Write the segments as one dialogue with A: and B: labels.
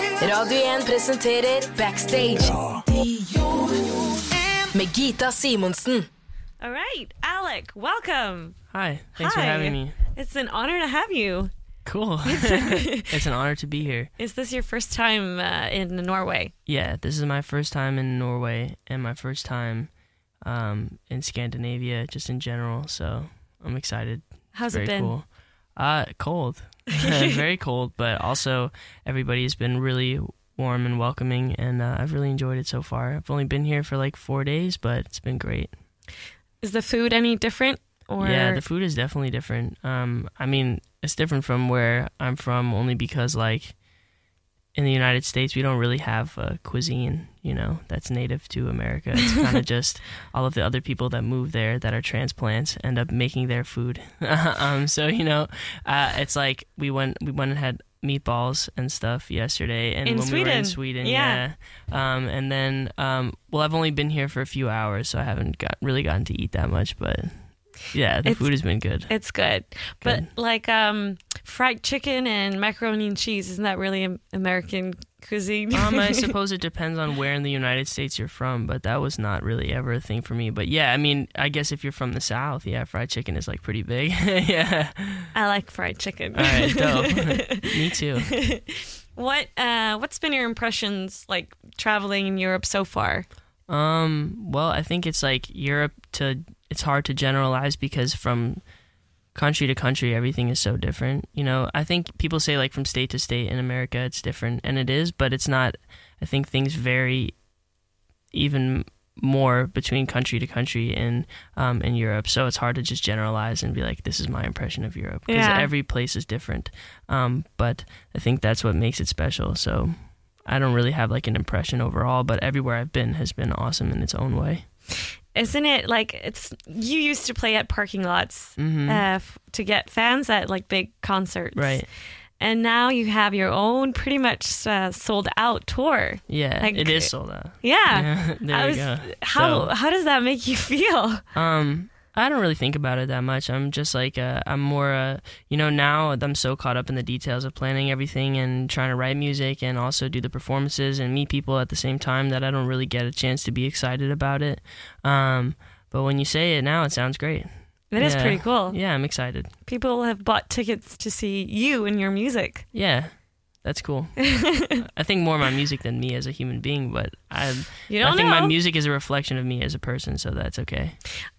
A: Radio 1 presenterer Backstage med Gita Simonsen.
B: All right, Alec, welcome.
C: Hi, thanks
B: Hi.
C: for having me.
B: It's an honor to have you.
C: Cool. it's an honor to be here.
B: Is this your first time uh, in Norway?
C: Yeah, this is my first time in Norway and my first time um, in Scandinavia, just in general. So I'm excited. It's
B: How's
C: very
B: it been?
C: Cool. Uh, cold. very cold, but also everybody's been really warm and welcoming, and uh, I've really enjoyed it so far. I've only been here for like four days, but it's been great.
B: Is the food any different? Or
C: yeah the food is definitely different um i mean it's different from where i'm from only because like in the united states we don't really have a cuisine you know that's native to america it's kind of just all of the other people that move there that are transplants end up making their food um so you know uh it's like we went we went and had meatballs and stuff yesterday and
B: In
C: when we were
B: Sweden.
C: in sweden
B: Yeah.
C: yeah, um and then um well i've only been here for a few hours so i haven't got really gotten to eat that much but yeah, the
B: It's-
C: food has been good.
B: it's good. But like um, fried chicken and macaroni and cheese, isn't that really am- American cuisine?
C: Um, I suppose it depends on where in the United States you're from, but that was not really ever a thing for me. But yeah, I mean, I guess if you're from the South, yeah, fried chicken is like pretty big. yeah.
B: I like fried chicken.
C: All right, dope. me too.
B: what uh, what's been your impressions like traveling in Europe so far?
C: Um, well, I think it's like Europe to it's hard to generalize because from country to country everything is so different. You know, I think people say like from state to state in America it's different and it is, but it's not I think things vary even more between country to country in um, in Europe. So it's hard to just generalize and be like this is my impression of Europe because
B: Yeah.
C: every place is different. Um, but I think that's what makes it special. So I don't really have like an impression overall, but everywhere I've been has been awesome in its own way.
B: Isn't it like it's you used to play at parking lots
C: Mhm.
B: uh, f- to get fans at like big concerts,
C: Right.
B: And now you have your own pretty much uh, sold out tour.
C: Yeah,
B: Like-
C: it is sold out.
B: Yeah.
C: Yeah, there
B: I
C: you
B: was,
C: go.
B: How how does that make you feel?
C: So, um, I don't really think about it that much. I'm just like uh, I'm more, uh, you know, now I'm so caught up in the details of planning everything and trying to write music and also do the performances and meet people at the same time that I don't really get a chance to be excited about it. Um, but when you say it now, it sounds great.
B: That is
C: Yeah.
B: pretty cool.
C: Yeah, I'm excited.
B: People have bought tickets to see you and your music.
C: Yeah, that's cool. I think more my music than me as a human being, but I,
B: You don't
C: I think
B: know.
C: my music is a reflection of me as a person, so that's okay.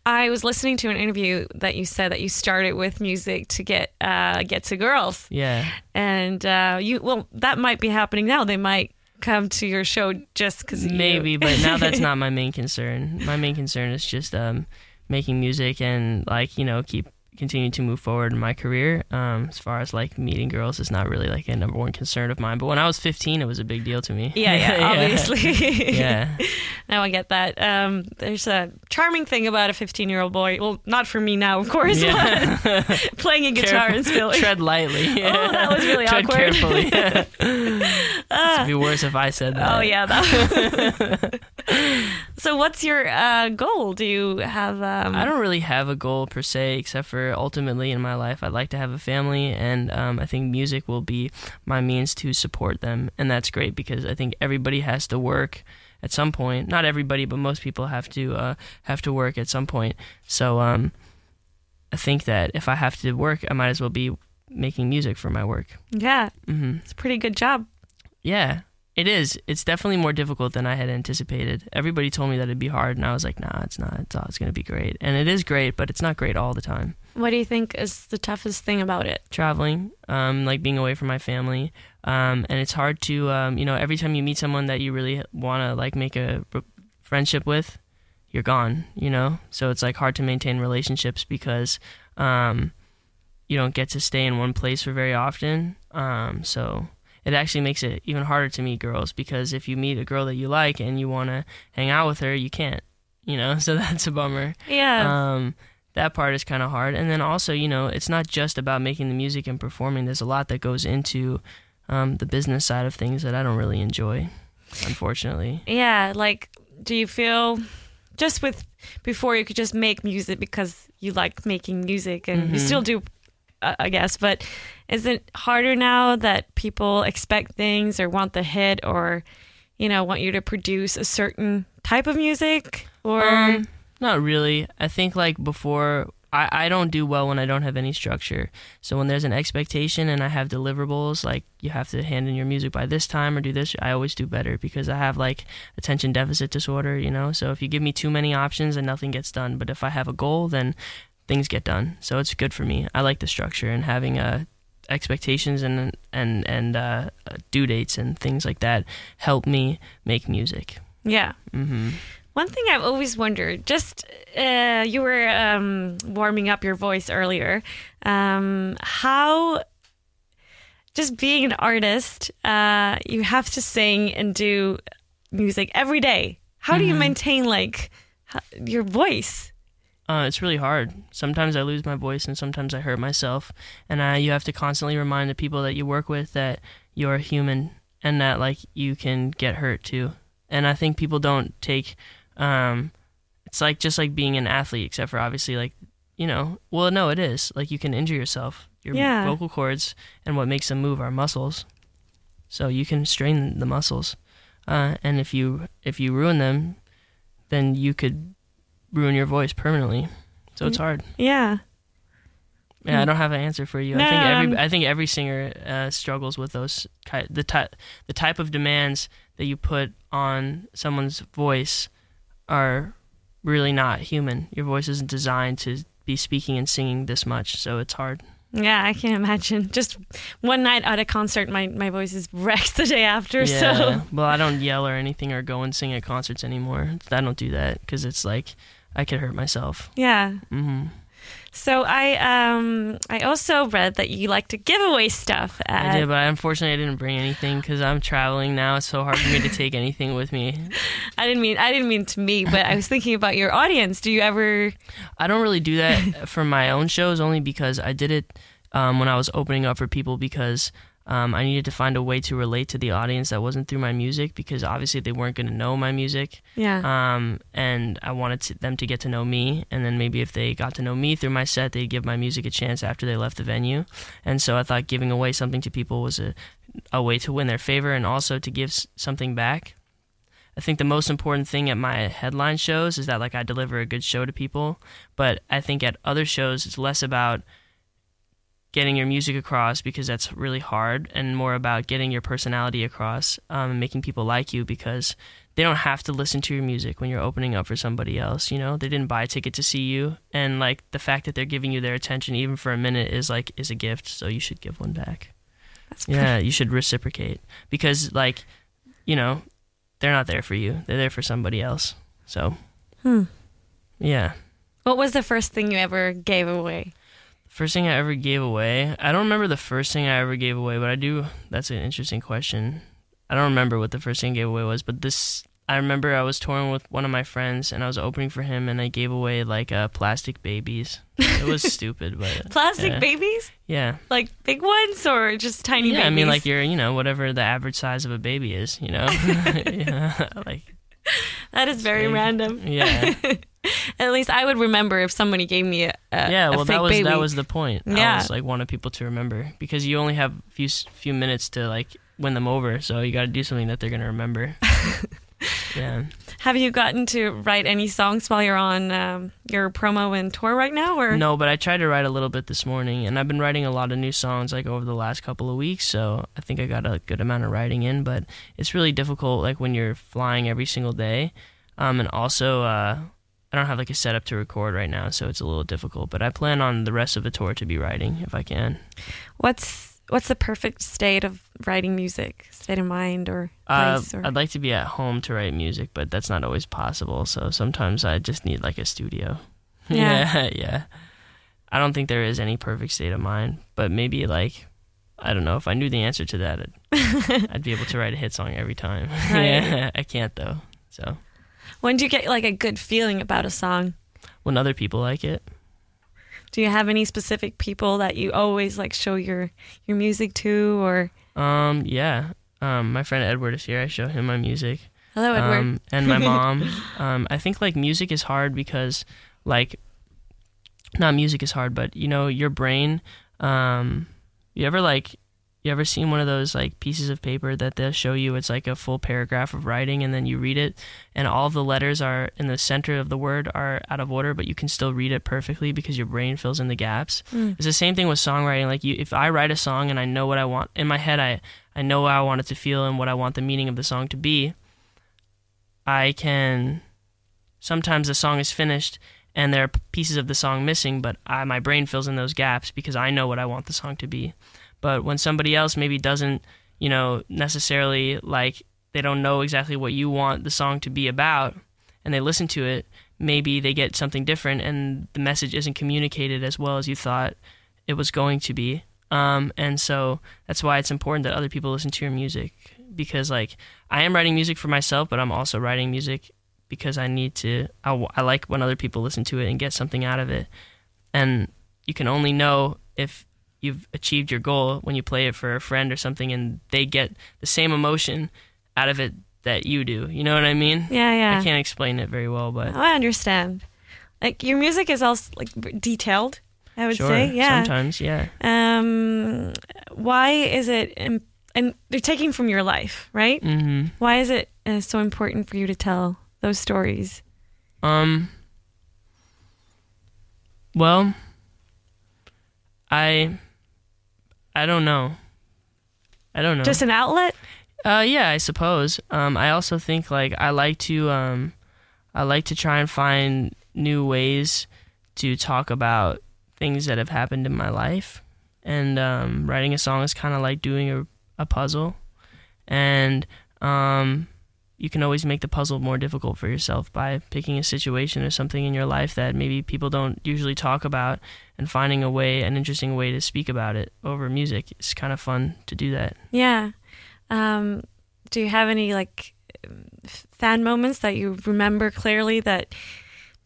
B: I was listening to an interview that you said that you started with music to get uh, get to girls,
C: Yeah,
B: and uh, you well that might be happening now. They might come to your show just because
C: maybe, but now that's not my main concern. My main concern is just um, making music and like you know keep continuing to move forward in my career. Um, as far as like meeting girls, is not really like a number one concern of mine. But when I was 15, it was a big deal to me.
B: Yeah, yeah, obviously.
C: yeah,
B: Now I get that. Um, there's a charming thing about a 15 year old boy. Well, not for me now, of course.
C: yeah.
B: but playing a guitar and spilling.
C: Tread lightly.
B: Oh, that was really
C: Tread
B: awkward.
C: carefully. It'd be worse if I said that.
B: Oh yeah. that- so what's your uh, goal? Do you have? Um,
C: I don't really have a goal per se, except for ultimately in my life, I'd like to have a family, and um, I think music will be my means to support them, and that's great because I think everybody has to work at some point. Not everybody, but most people have to uh, have to work at some point. So um, I think that if I have to work, I might as well be making music for my work.
B: Yeah,
C: hmm
B: it's a pretty good job.
C: Yeah, it is. It's definitely more difficult than I had anticipated. Everybody told me that it'd be hard, and I was like, nah, it's not. It's, all- it's going to be great. And it is great, but it's not great all the time.
B: What do you think is the toughest thing about it?
C: Traveling, um, like being away from my family, um, and it's hard to, um, you know, every time you meet someone that you really want to like make a r- friendship with, you're gone, you know. So it's like hard to maintain relationships because um, you don't get to stay in one place for very often. Um, so it actually makes it even harder to meet girls because if you meet a girl that you like and you want to hang out with her, you can't, you know. So that's a bummer
B: Yeah,
C: um, that part is kind of hard. And then also, you know, it's not just about making the music and performing. There's a lot that goes into um, the business side of things that I don't really enjoy, unfortunately.
B: yeah. Like, do you feel just with before you could just make music because you like making music and you still do I I guess. But is it harder now that people expect things or want the hit or, you know, want you to produce a certain type of music? Or
C: Um, not really. I think like before, I, I don't do well when I don't have any structure. So when there's an expectation and I have deliverables, like you have to hand in your music by this time or do this, I always do better because I have like attention deficit disorder, you know? So if you give me too many options and nothing gets done, but if I have a goal, then things get done. So it's good for me. I like the structure and having uh expectations and and and uh, due dates and things like that help me make music.
B: yeah.
C: hmm
B: One thing I've always wondered, just uh, you were um, warming up your voice earlier, um, how just being an artist, uh, you have to sing and do music every day. How do you maintain like h- your voice?
C: Uh, it's really hard. Sometimes I lose my voice, and sometimes I hurt myself. And I, you have to constantly remind the people that you work with that you're a human and that like you can get hurt too. And I think people don't take. Um, it's like just like being an athlete, except for obviously like you know. Well, no, it is like you can injure yourself. Your
B: Yeah.
C: vocal cords and what makes them move are muscles. So you can strain the muscles, uh, and if you if you ruin them, then you could ruin your voice permanently. So
B: Mm.
C: it's hard.
B: Yeah.
C: Yeah, I don't have an answer for you.
B: No,
C: I think every
B: Mm. um,
C: I think every singer uh, struggles with those ki- the type the type of demands that you put on someone's voice are really not human. Your voice isn't designed to be speaking and singing this much, so it's hard.
B: Yeah, I can imagine. Just one night at a concert, my, my voice is wrecked the day after. So,
C: Well, I don't yell or anything or go and sing at concerts anymore. I don't do that because it's like I could hurt myself.
B: yeah.
C: hmm
B: So I um I also read that you like to give away stuff. At,
C: I did, but unfortunately, I didn't bring anything because I'm traveling now. It's so hard for me to take anything with me.
B: I didn't mean I didn't mean to me, but I was thinking about your audience. Do you ever?
C: I don't really do that for my own shows only because I did it um, when I was opening up for people because um, I needed to find a way to relate to the audience that wasn't through my music because obviously they weren't going to know my music.
B: Yeah.
C: Um, and I wanted to, them to get to know me. And then maybe if they got to know me through my set, they'd give my music a chance after they left the venue. And so I thought giving away something to people was a, a way to win their favor and also to give s- something back. I think the most important thing at my headline shows is that like I deliver a good show to people, but I think at other shows it's less about getting your music across because that's really hard, and more about getting your personality across um, and making people like you because they don't have to listen to your music when you're opening up for somebody else. You know, they didn't buy a ticket to see you, and like the fact that they're giving you their attention even for a minute is like is a gift, so you should give one back. Uh, yeah, you should reciprocate because like you know they're not there for you; they're there for somebody else. So,
B: Hmm.
C: yeah.
B: What was the first thing you ever gave away?
C: First thing I ever gave away. I don't remember the first thing I ever gave away, but I do. That's an interesting question. I don't remember what the first thing I gave away was, but this I remember I was touring with one of my friends and I was opening for him and I gave away like uh, plastic babies. It was stupid, but
B: Plastic
C: yeah.
B: babies,
C: Yeah,
B: like big ones or just tiny
C: yeah.
B: babies?
C: I mean, like you're you know whatever the average size of a baby is, you know. yeah, like
B: that is very
C: big.
B: random.
C: yeah,
B: At least I would remember if somebody gave me a, a
C: yeah.
B: a
C: Well,
B: fake
C: that was
B: baby.
C: that was the point. I
B: Yeah.
C: was like wanted people to remember because you only have few s- few minutes to like win them over, so you got to do something that they're gonna remember. yeah.
B: Have you gotten to write any songs while you're on um, your promo and tour right now? Or
C: No, but I tried to write a little bit this morning, and I've been writing a lot of new songs like over the last couple of weeks. So I think I got a good amount of writing in, but it's really difficult like when you're flying every single day, um, and also uh, I don't have like a setup to record right now, so it's a little difficult. But I plan on the rest of the tour to be writing if I can.
B: what's what's the perfect state of writing music? State of mind or
C: Uh,
B: place? or...
C: I'd like to be at home to write music, but that's not always possible. So sometimes I just need like a studio.
B: Yeah.
C: yeah. yeah. I don't think there is any perfect state of mind, but maybe like I don't know if I knew the answer to that, I'd, I'd be able to write a hit song every time.
B: Right.
C: yeah, I can't though. So
B: When do you get like a good feeling about a song?
C: when other people like it,
B: Do you have any specific people that you always like show your your music to or
C: um, yeah. Um, my friend Edward is here. I show him my music.
B: Hello Edward.
C: Um, and my mom. um, I think like music is hard because like not music is hard, but you know your brain Um, you ever like you ever seen one of those like pieces of paper that they'll show you it's like a full paragraph of writing and then you read it and all the letters are in the center of the word are out of order but you can still read it perfectly because your brain fills in the gaps it's the same thing with songwriting like you if i write a song and i know what i want in my head i i know how i want it to feel and what i want the meaning of the song to be i can sometimes the song is finished and there are p- pieces of the song missing but I, my brain fills in those gaps because i know what i want the song to be but when somebody else maybe doesn't you know necessarily like they don't know exactly what you want the song to be about and they listen to it maybe they get something different and the message isn't communicated as well as you thought it was going to be um, and so that's why it's important that other people listen to your music because like i am writing music for myself but i'm also writing music because i need to I w I I like when other people listen to it and get something out of it and you can only know if you've achieved your goal when you play it for a friend or something and they get the same emotion out of it that you do you know what i mean
B: Yeah, yeah. Oh,
C: i can't explain it very well but
B: I understand. Like your music is also like b- detailed. I would
C: sure
B: say, yeah.
C: sometimes yeah
B: Um, why is it? im- and they're taking from your life, right?
C: hmm
B: Why is it uh, so important for you to tell those stories?
C: um well i i don't know i don't know
B: Just an outlet.
C: Uh, yeah, I suppose. Um, I also think like I like to um, I like to try and find new ways to talk about things that have happened in my life, and um, writing a song is kind of like doing a, a puzzle, and um, you can always make the puzzle more difficult for yourself by picking a situation or something in your life that maybe people don't usually talk about, and finding a way, an interesting way to speak about it over music. It's kind of fun to do that.
B: Yeah. Um, do you have any like um, f- fan moments that you remember clearly that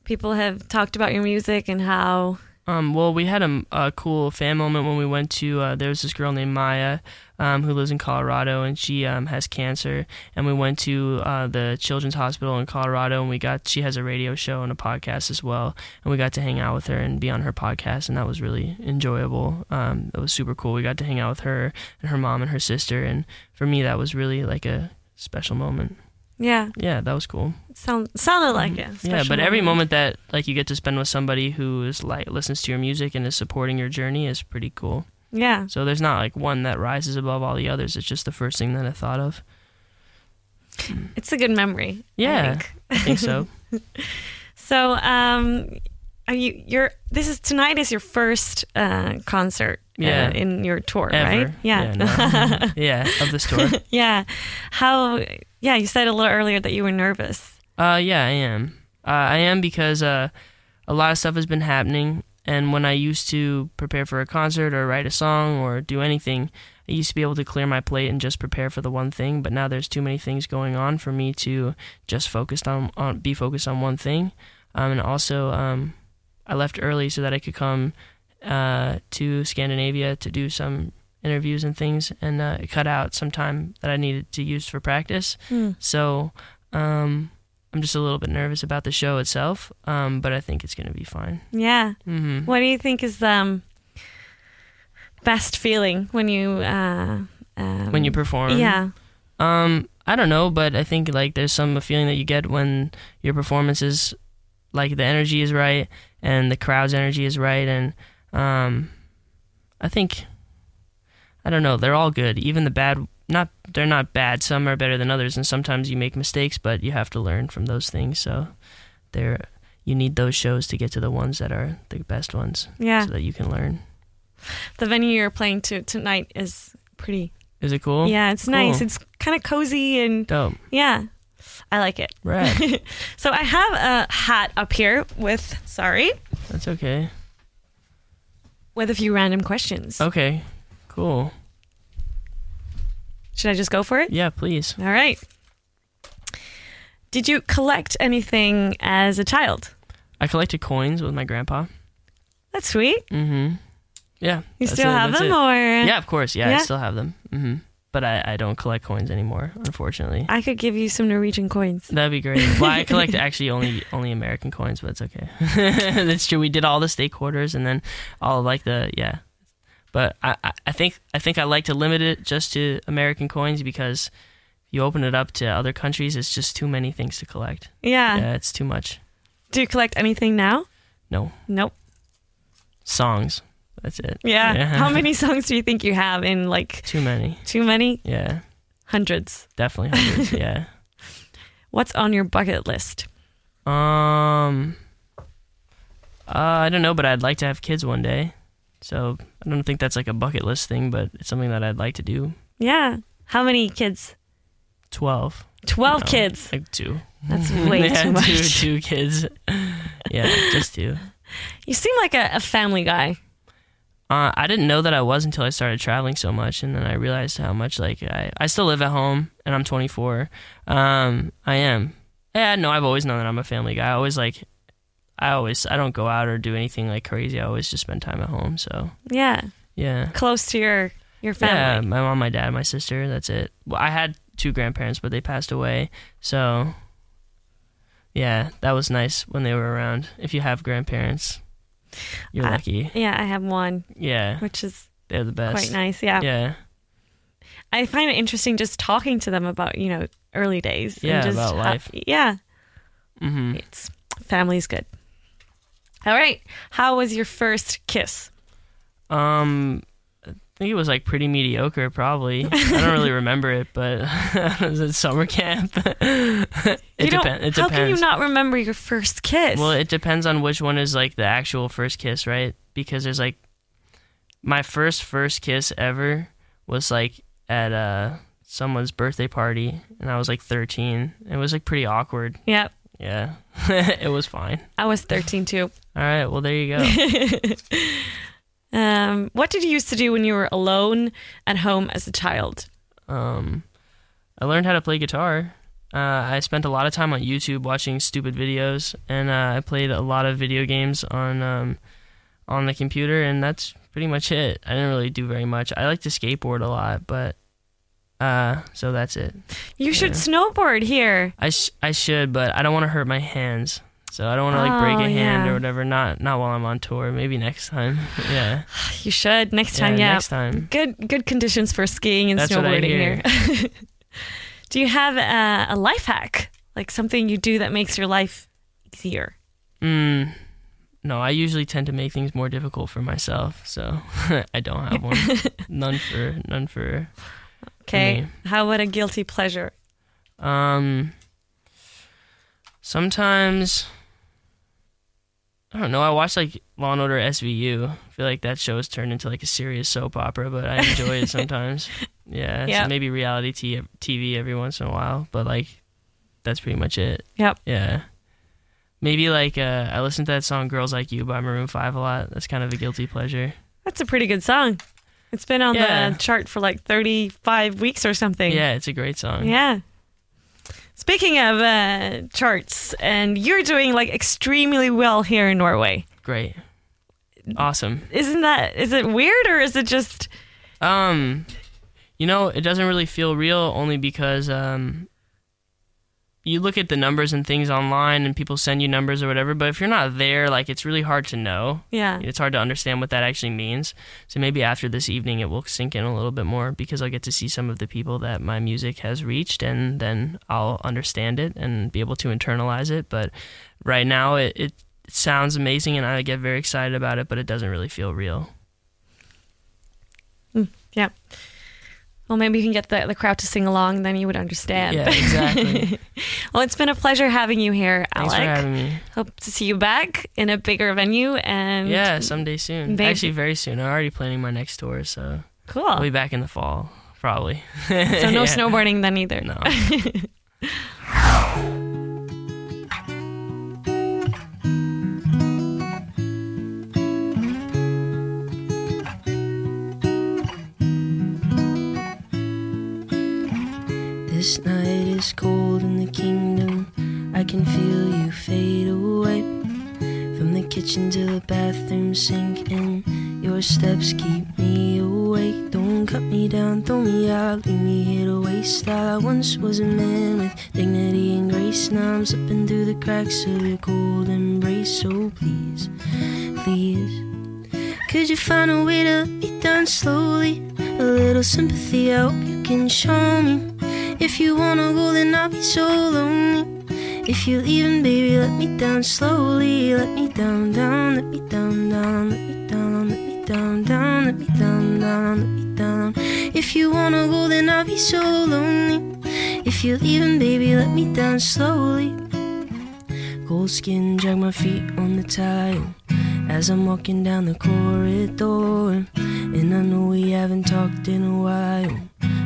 B: people have talked about your music and how?
C: Um, well, we had a, a cool fan moment when we went to. Uh, there was this girl named Maya um, who lives in Colorado, and she um, has cancer. And we went to uh, the Children's Hospital in Colorado, and we got. She has a radio show and a podcast as well, and we got to hang out with her and be on her podcast, and that was really enjoyable. Um, it was super cool. We got to hang out with her and her mom and her sister, and for me, that was really like a special moment.
B: Yeah,
C: Yeah, that was cool.
B: it sound sounded like it.
C: Mm-hmm. Yeah, but every moment that like you get to spend with somebody who is like listens to your music and is supporting your journey is pretty cool.
B: Yeah.
C: So there's not like one that rises above all the others. It's just the first thing that I thought of.
B: It's a good memory. I
C: Yeah.
B: think.
C: I think so.
B: So, um, are you? You're. This is tonight is your first uh, concert. uh,
C: Yeah.
B: in your tour,
C: Ever.
B: right? Yeah,
C: Yeah, no. yeah of this tour.
B: yeah. How? Yeah, you said a little earlier that you were nervous.
C: Uh, yeah, I am. Uh, I am because uh, a lot of stuff has been happening, and when I used to prepare for a concert or write a song or do anything, I used to be able to clear my plate and just prepare for the one thing. But now there's too many things going on for me to just focus on, on be focused on one thing. Um, and also, um, I left early so that I could come uh, to Scandinavia to do some interviews and things, and uh, it cut out some time that I needed to use for practice. So. Um, I'm just a little bit nervous about the show itself, um, but I think it's going to be fine.
B: Yeah.
C: hmm
B: What do you think is the um, best feeling when you uh, um,
C: When you perform,
B: Yeah.
C: Um, I don't know, but I think like there's some feeling that you get when your performance is like the energy is right and the crowd's energy is right, and um, I think I don't know. They're all good, even the bad. Not they're not bad. Some are better than others, and sometimes you make mistakes, but you have to learn from those things. So they're you need those shows to get to the ones that are the best ones,
B: Yeah.
C: so that you can learn.
B: The venue you're playing to tonight is pretty.
C: Is it cool?
B: yeah, it's nice.
C: Oh, cool.
B: It's kind of cozy and
C: Dope.
B: yeah. I like it.
C: Right.
B: So I have a hat up here with sorry,
C: That's okay.
B: with a few random questions.
C: Okay. Cool.
B: Should I just go for it?
C: Yeah, please.
B: All right. Did you collect anything as a child?
C: I collected coins with my grandpa.
B: That's sweet.
C: Mm-hmm. Yeah.
B: You
C: that's
B: still
C: it,
B: have
C: that's
B: them,
C: it.
B: or
C: Yeah, of course. Yeah,
B: Yeah?
C: I still have them. Mm-hmm. But I, I don't collect coins anymore, unfortunately.
B: I could give you some Norwegian coins.
C: That'd be great. Well, I collect actually only only American coins, but it's okay. That's true. We did all the state quarters and then all of, like the yeah. But I, I- I think I think I like to limit it just to American coins because you open it up to other countries, it's just too many things to collect.
B: Yeah.
C: Yeah, it's too much.
B: Do you collect anything now?
C: No
B: Nope.
C: songs. That's it.
B: Yeah. How many songs do you think you have in like
C: Too many.
B: too many?
C: Yeah,
B: Hundreds.
C: definitely hundreds. yeah.
B: What's on your bucket list?
C: Um, uh, I don't know, but I'd like to have kids one day. So I don't think that's like a bucket list thing, but it's something that I'd like to do.
B: Yeah. How many kids?
C: Twelve.
B: 12
C: No,
B: kids.
C: Like two.
B: That's way
C: yeah,
B: too much.
C: Two, two kids. yeah, just two.
B: You seem like a, a family guy.
C: Uh, I didn't know that I was until I started traveling so much, and then I realized how much like I, I still live at home, and I'm 24. Um, I am. Yeah, no, I've always known that I'm a family guy. I always like, I always I don't go out or do anything like crazy. I always just spend time at home. So
B: Yeah.
C: yeah,
B: Close to your your
C: yeah.
B: family.
C: My mom, my dad, my sister. That's it. Well, I had two grandparents, but they passed away. So yeah, that was nice when they were around. If you have grandparents, you're
B: I-
C: lucky.
B: Yeah. I have one,
C: Yeah,
B: which is
C: they're the best.
B: quite nice. Yeah.
C: Yeah.
B: I find it interesting just talking to them about, you know, early days.
C: Yeah,
B: and just
C: about
B: how-
C: life.
B: yeah.
C: Mm-hmm.
B: It's family's good. All right. How was your first kiss?
C: Um, I think it was like pretty mediocre, probably. I don't really remember it, but it was at summer camp. it,
B: You don't-
C: depen- it depends.
B: How can you not remember your first kiss?
C: Well, it depends on which one is like the actual first kiss, right? Because there's like my first first kiss ever was like at uh someone's birthday party, and I was like 13. It was like pretty awkward.
B: yeah,
C: Yeah, it was fine.
B: I was 13 too.
C: All right, well there you go.
B: Um, what did you used to do when you were alone at home as a child?
C: um, I learned how to play guitar. Uh, I spent a lot of time on YouTube watching stupid videos, and uh, I played a lot of video games on um, on the computer, and that's pretty much it. I didn't really do very much. I like to skateboard a lot, but uh, so that's it.
B: You should snowboard here.
C: I sh- I should, but I don't want to hurt my hands, so I don't want to like break
B: Oh,
C: a hand
B: yeah.
C: or whatever. Not not while I'm on tour. Maybe next time. yeah.
B: You should next time.
C: yeah.
B: Yeah,
C: Next time.
B: good good conditions for skiing and
C: That's what I
B: snowboarding
C: hear.
B: here. do you have uh, a life hack, like something you do that makes your life easier?
C: Mm, no, I usually tend to make things more difficult for myself, so I don't have one. none for none for.
B: Okay,
C: Me.
B: how about a guilty pleasure?
C: Um, sometimes I don't know. I watch like Law and Order SVU. I feel like that show has turned into like a serious soap opera, but I enjoy it sometimes. Yeah, so
B: Yep.
C: maybe reality t- TV every once in a while, but like that's pretty much it.
B: Yep.
C: Yeah. Maybe like uh, I listen to that song "Girls Like You" by Maroon Five a lot. That's kind of a guilty pleasure.
B: That's a pretty good song. It's been on
C: Yeah.
B: the chart for like 35 weeks or something.
C: Yeah, it's a great song.
B: Yeah. Speaking of uh, charts, and you're doing like extremely well here in Norway.
C: Great. Awesome.
B: Isn't that, is it weird or is it just,
C: Um, you know, it doesn't really feel real only because um, you look at the numbers and things online, and people send you numbers or whatever. But if you're not there, like it's really hard to know.
B: yeah.
C: It's hard to understand what that actually means. So maybe after this evening, it will sink in a little bit more because I'll get to see some of the people that my music has reached, and then I'll understand it and be able to internalize it. But right now, it, it sounds amazing, and I get very excited about it, but it doesn't really feel real.
B: Yeah. Well, maybe you can get the, the crowd to sing along, then you would understand.
C: Yeah, exactly.
B: well, it's been a pleasure having you here, Alec.
C: Thanks for having me.
B: Hope to see you back in a bigger venue. And
C: Yeah, someday soon.
B: Maybe-
C: Actually, very soon. I'm already planning my next tour, so
B: cool.
C: I'll be back in the fall, probably.
B: So no
C: Yeah.
B: snowboarding then either.
C: No. This night is cold in the kingdom. I can feel you fade away. From the kitchen to the bathroom sink, and your steps keep me awake. Don't cut me down, throw me out, leave me here to waste. I once was a man with dignity and grace. Now I'm slipping through Oh, the cracks of your cold embrace. So please, please.
D: Could you find a way to be done slowly? A little sympathy, I hope you can show me. If you wanna go, then I'll be so lonely. If you're leaving, baby, let me down slowly. Let me down, down, let me down, down, let me down, let me down, down, let me down, down, let me down. If you wanna go, then I'll be so lonely. If you're leaving, baby, let me down slowly. Cold skin, drag my feet on the tile as I'm walking down the corridor. And I know we haven't talked in a while,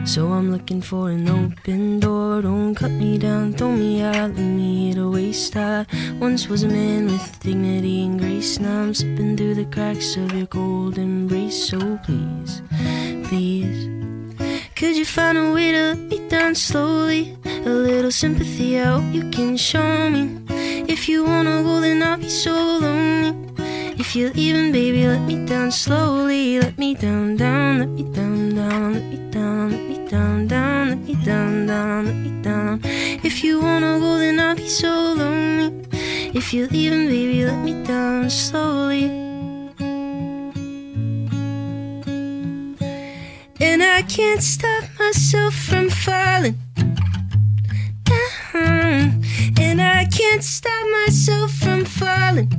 D: so I'm looking for an open door. Don't cut me down, throw me out, leave me here to waste. I once was a man with dignity and grace. Now I'm slipping through the cracks of your cold embrace. So please, please. Could you find a way to be done slowly? A little sympathy, I hope you can show me. If you wanna go, then I'll be so lonely. If you're leaving, baby, let me down slowly. Let me down, down, let me down, down, let me down, let me down, down, let me down, down, let me down. If you wanna go, then I'll be so lonely. If you're leaving, baby, let me down slowly. And I can't stop myself from falling down. And I can't stop myself from falling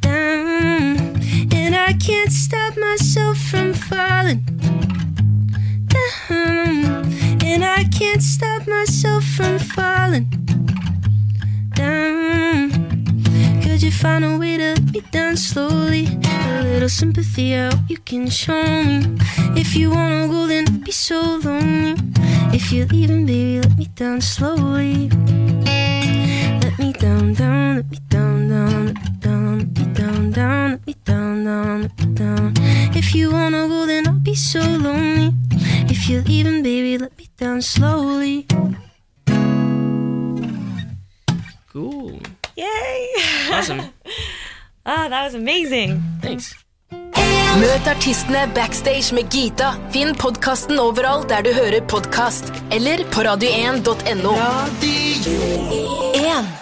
D: down. Mm-hmm. And I can't stop myself from falling down. And I can't stop myself from falling down. Could you find a way to be down slowly? A little sympathy, I hope you can show me. If you wanna go, then be so lonely. If you're leaving, baby, let me down slowly. Let me down, down, let me down, down, let me down, let me down, down, let me down, down, let me down. If you wanna go, then I'll be so lonely. If you're leaving, baby, let me down slowly.
C: Cool.
B: Yay!
C: Awesome.
B: Ah, that was amazing.
C: Thanks.
A: Møt artistene backstage med Gita. Finn podkasten overalt der du hører podkast, eller på radio1.no. Radio 1.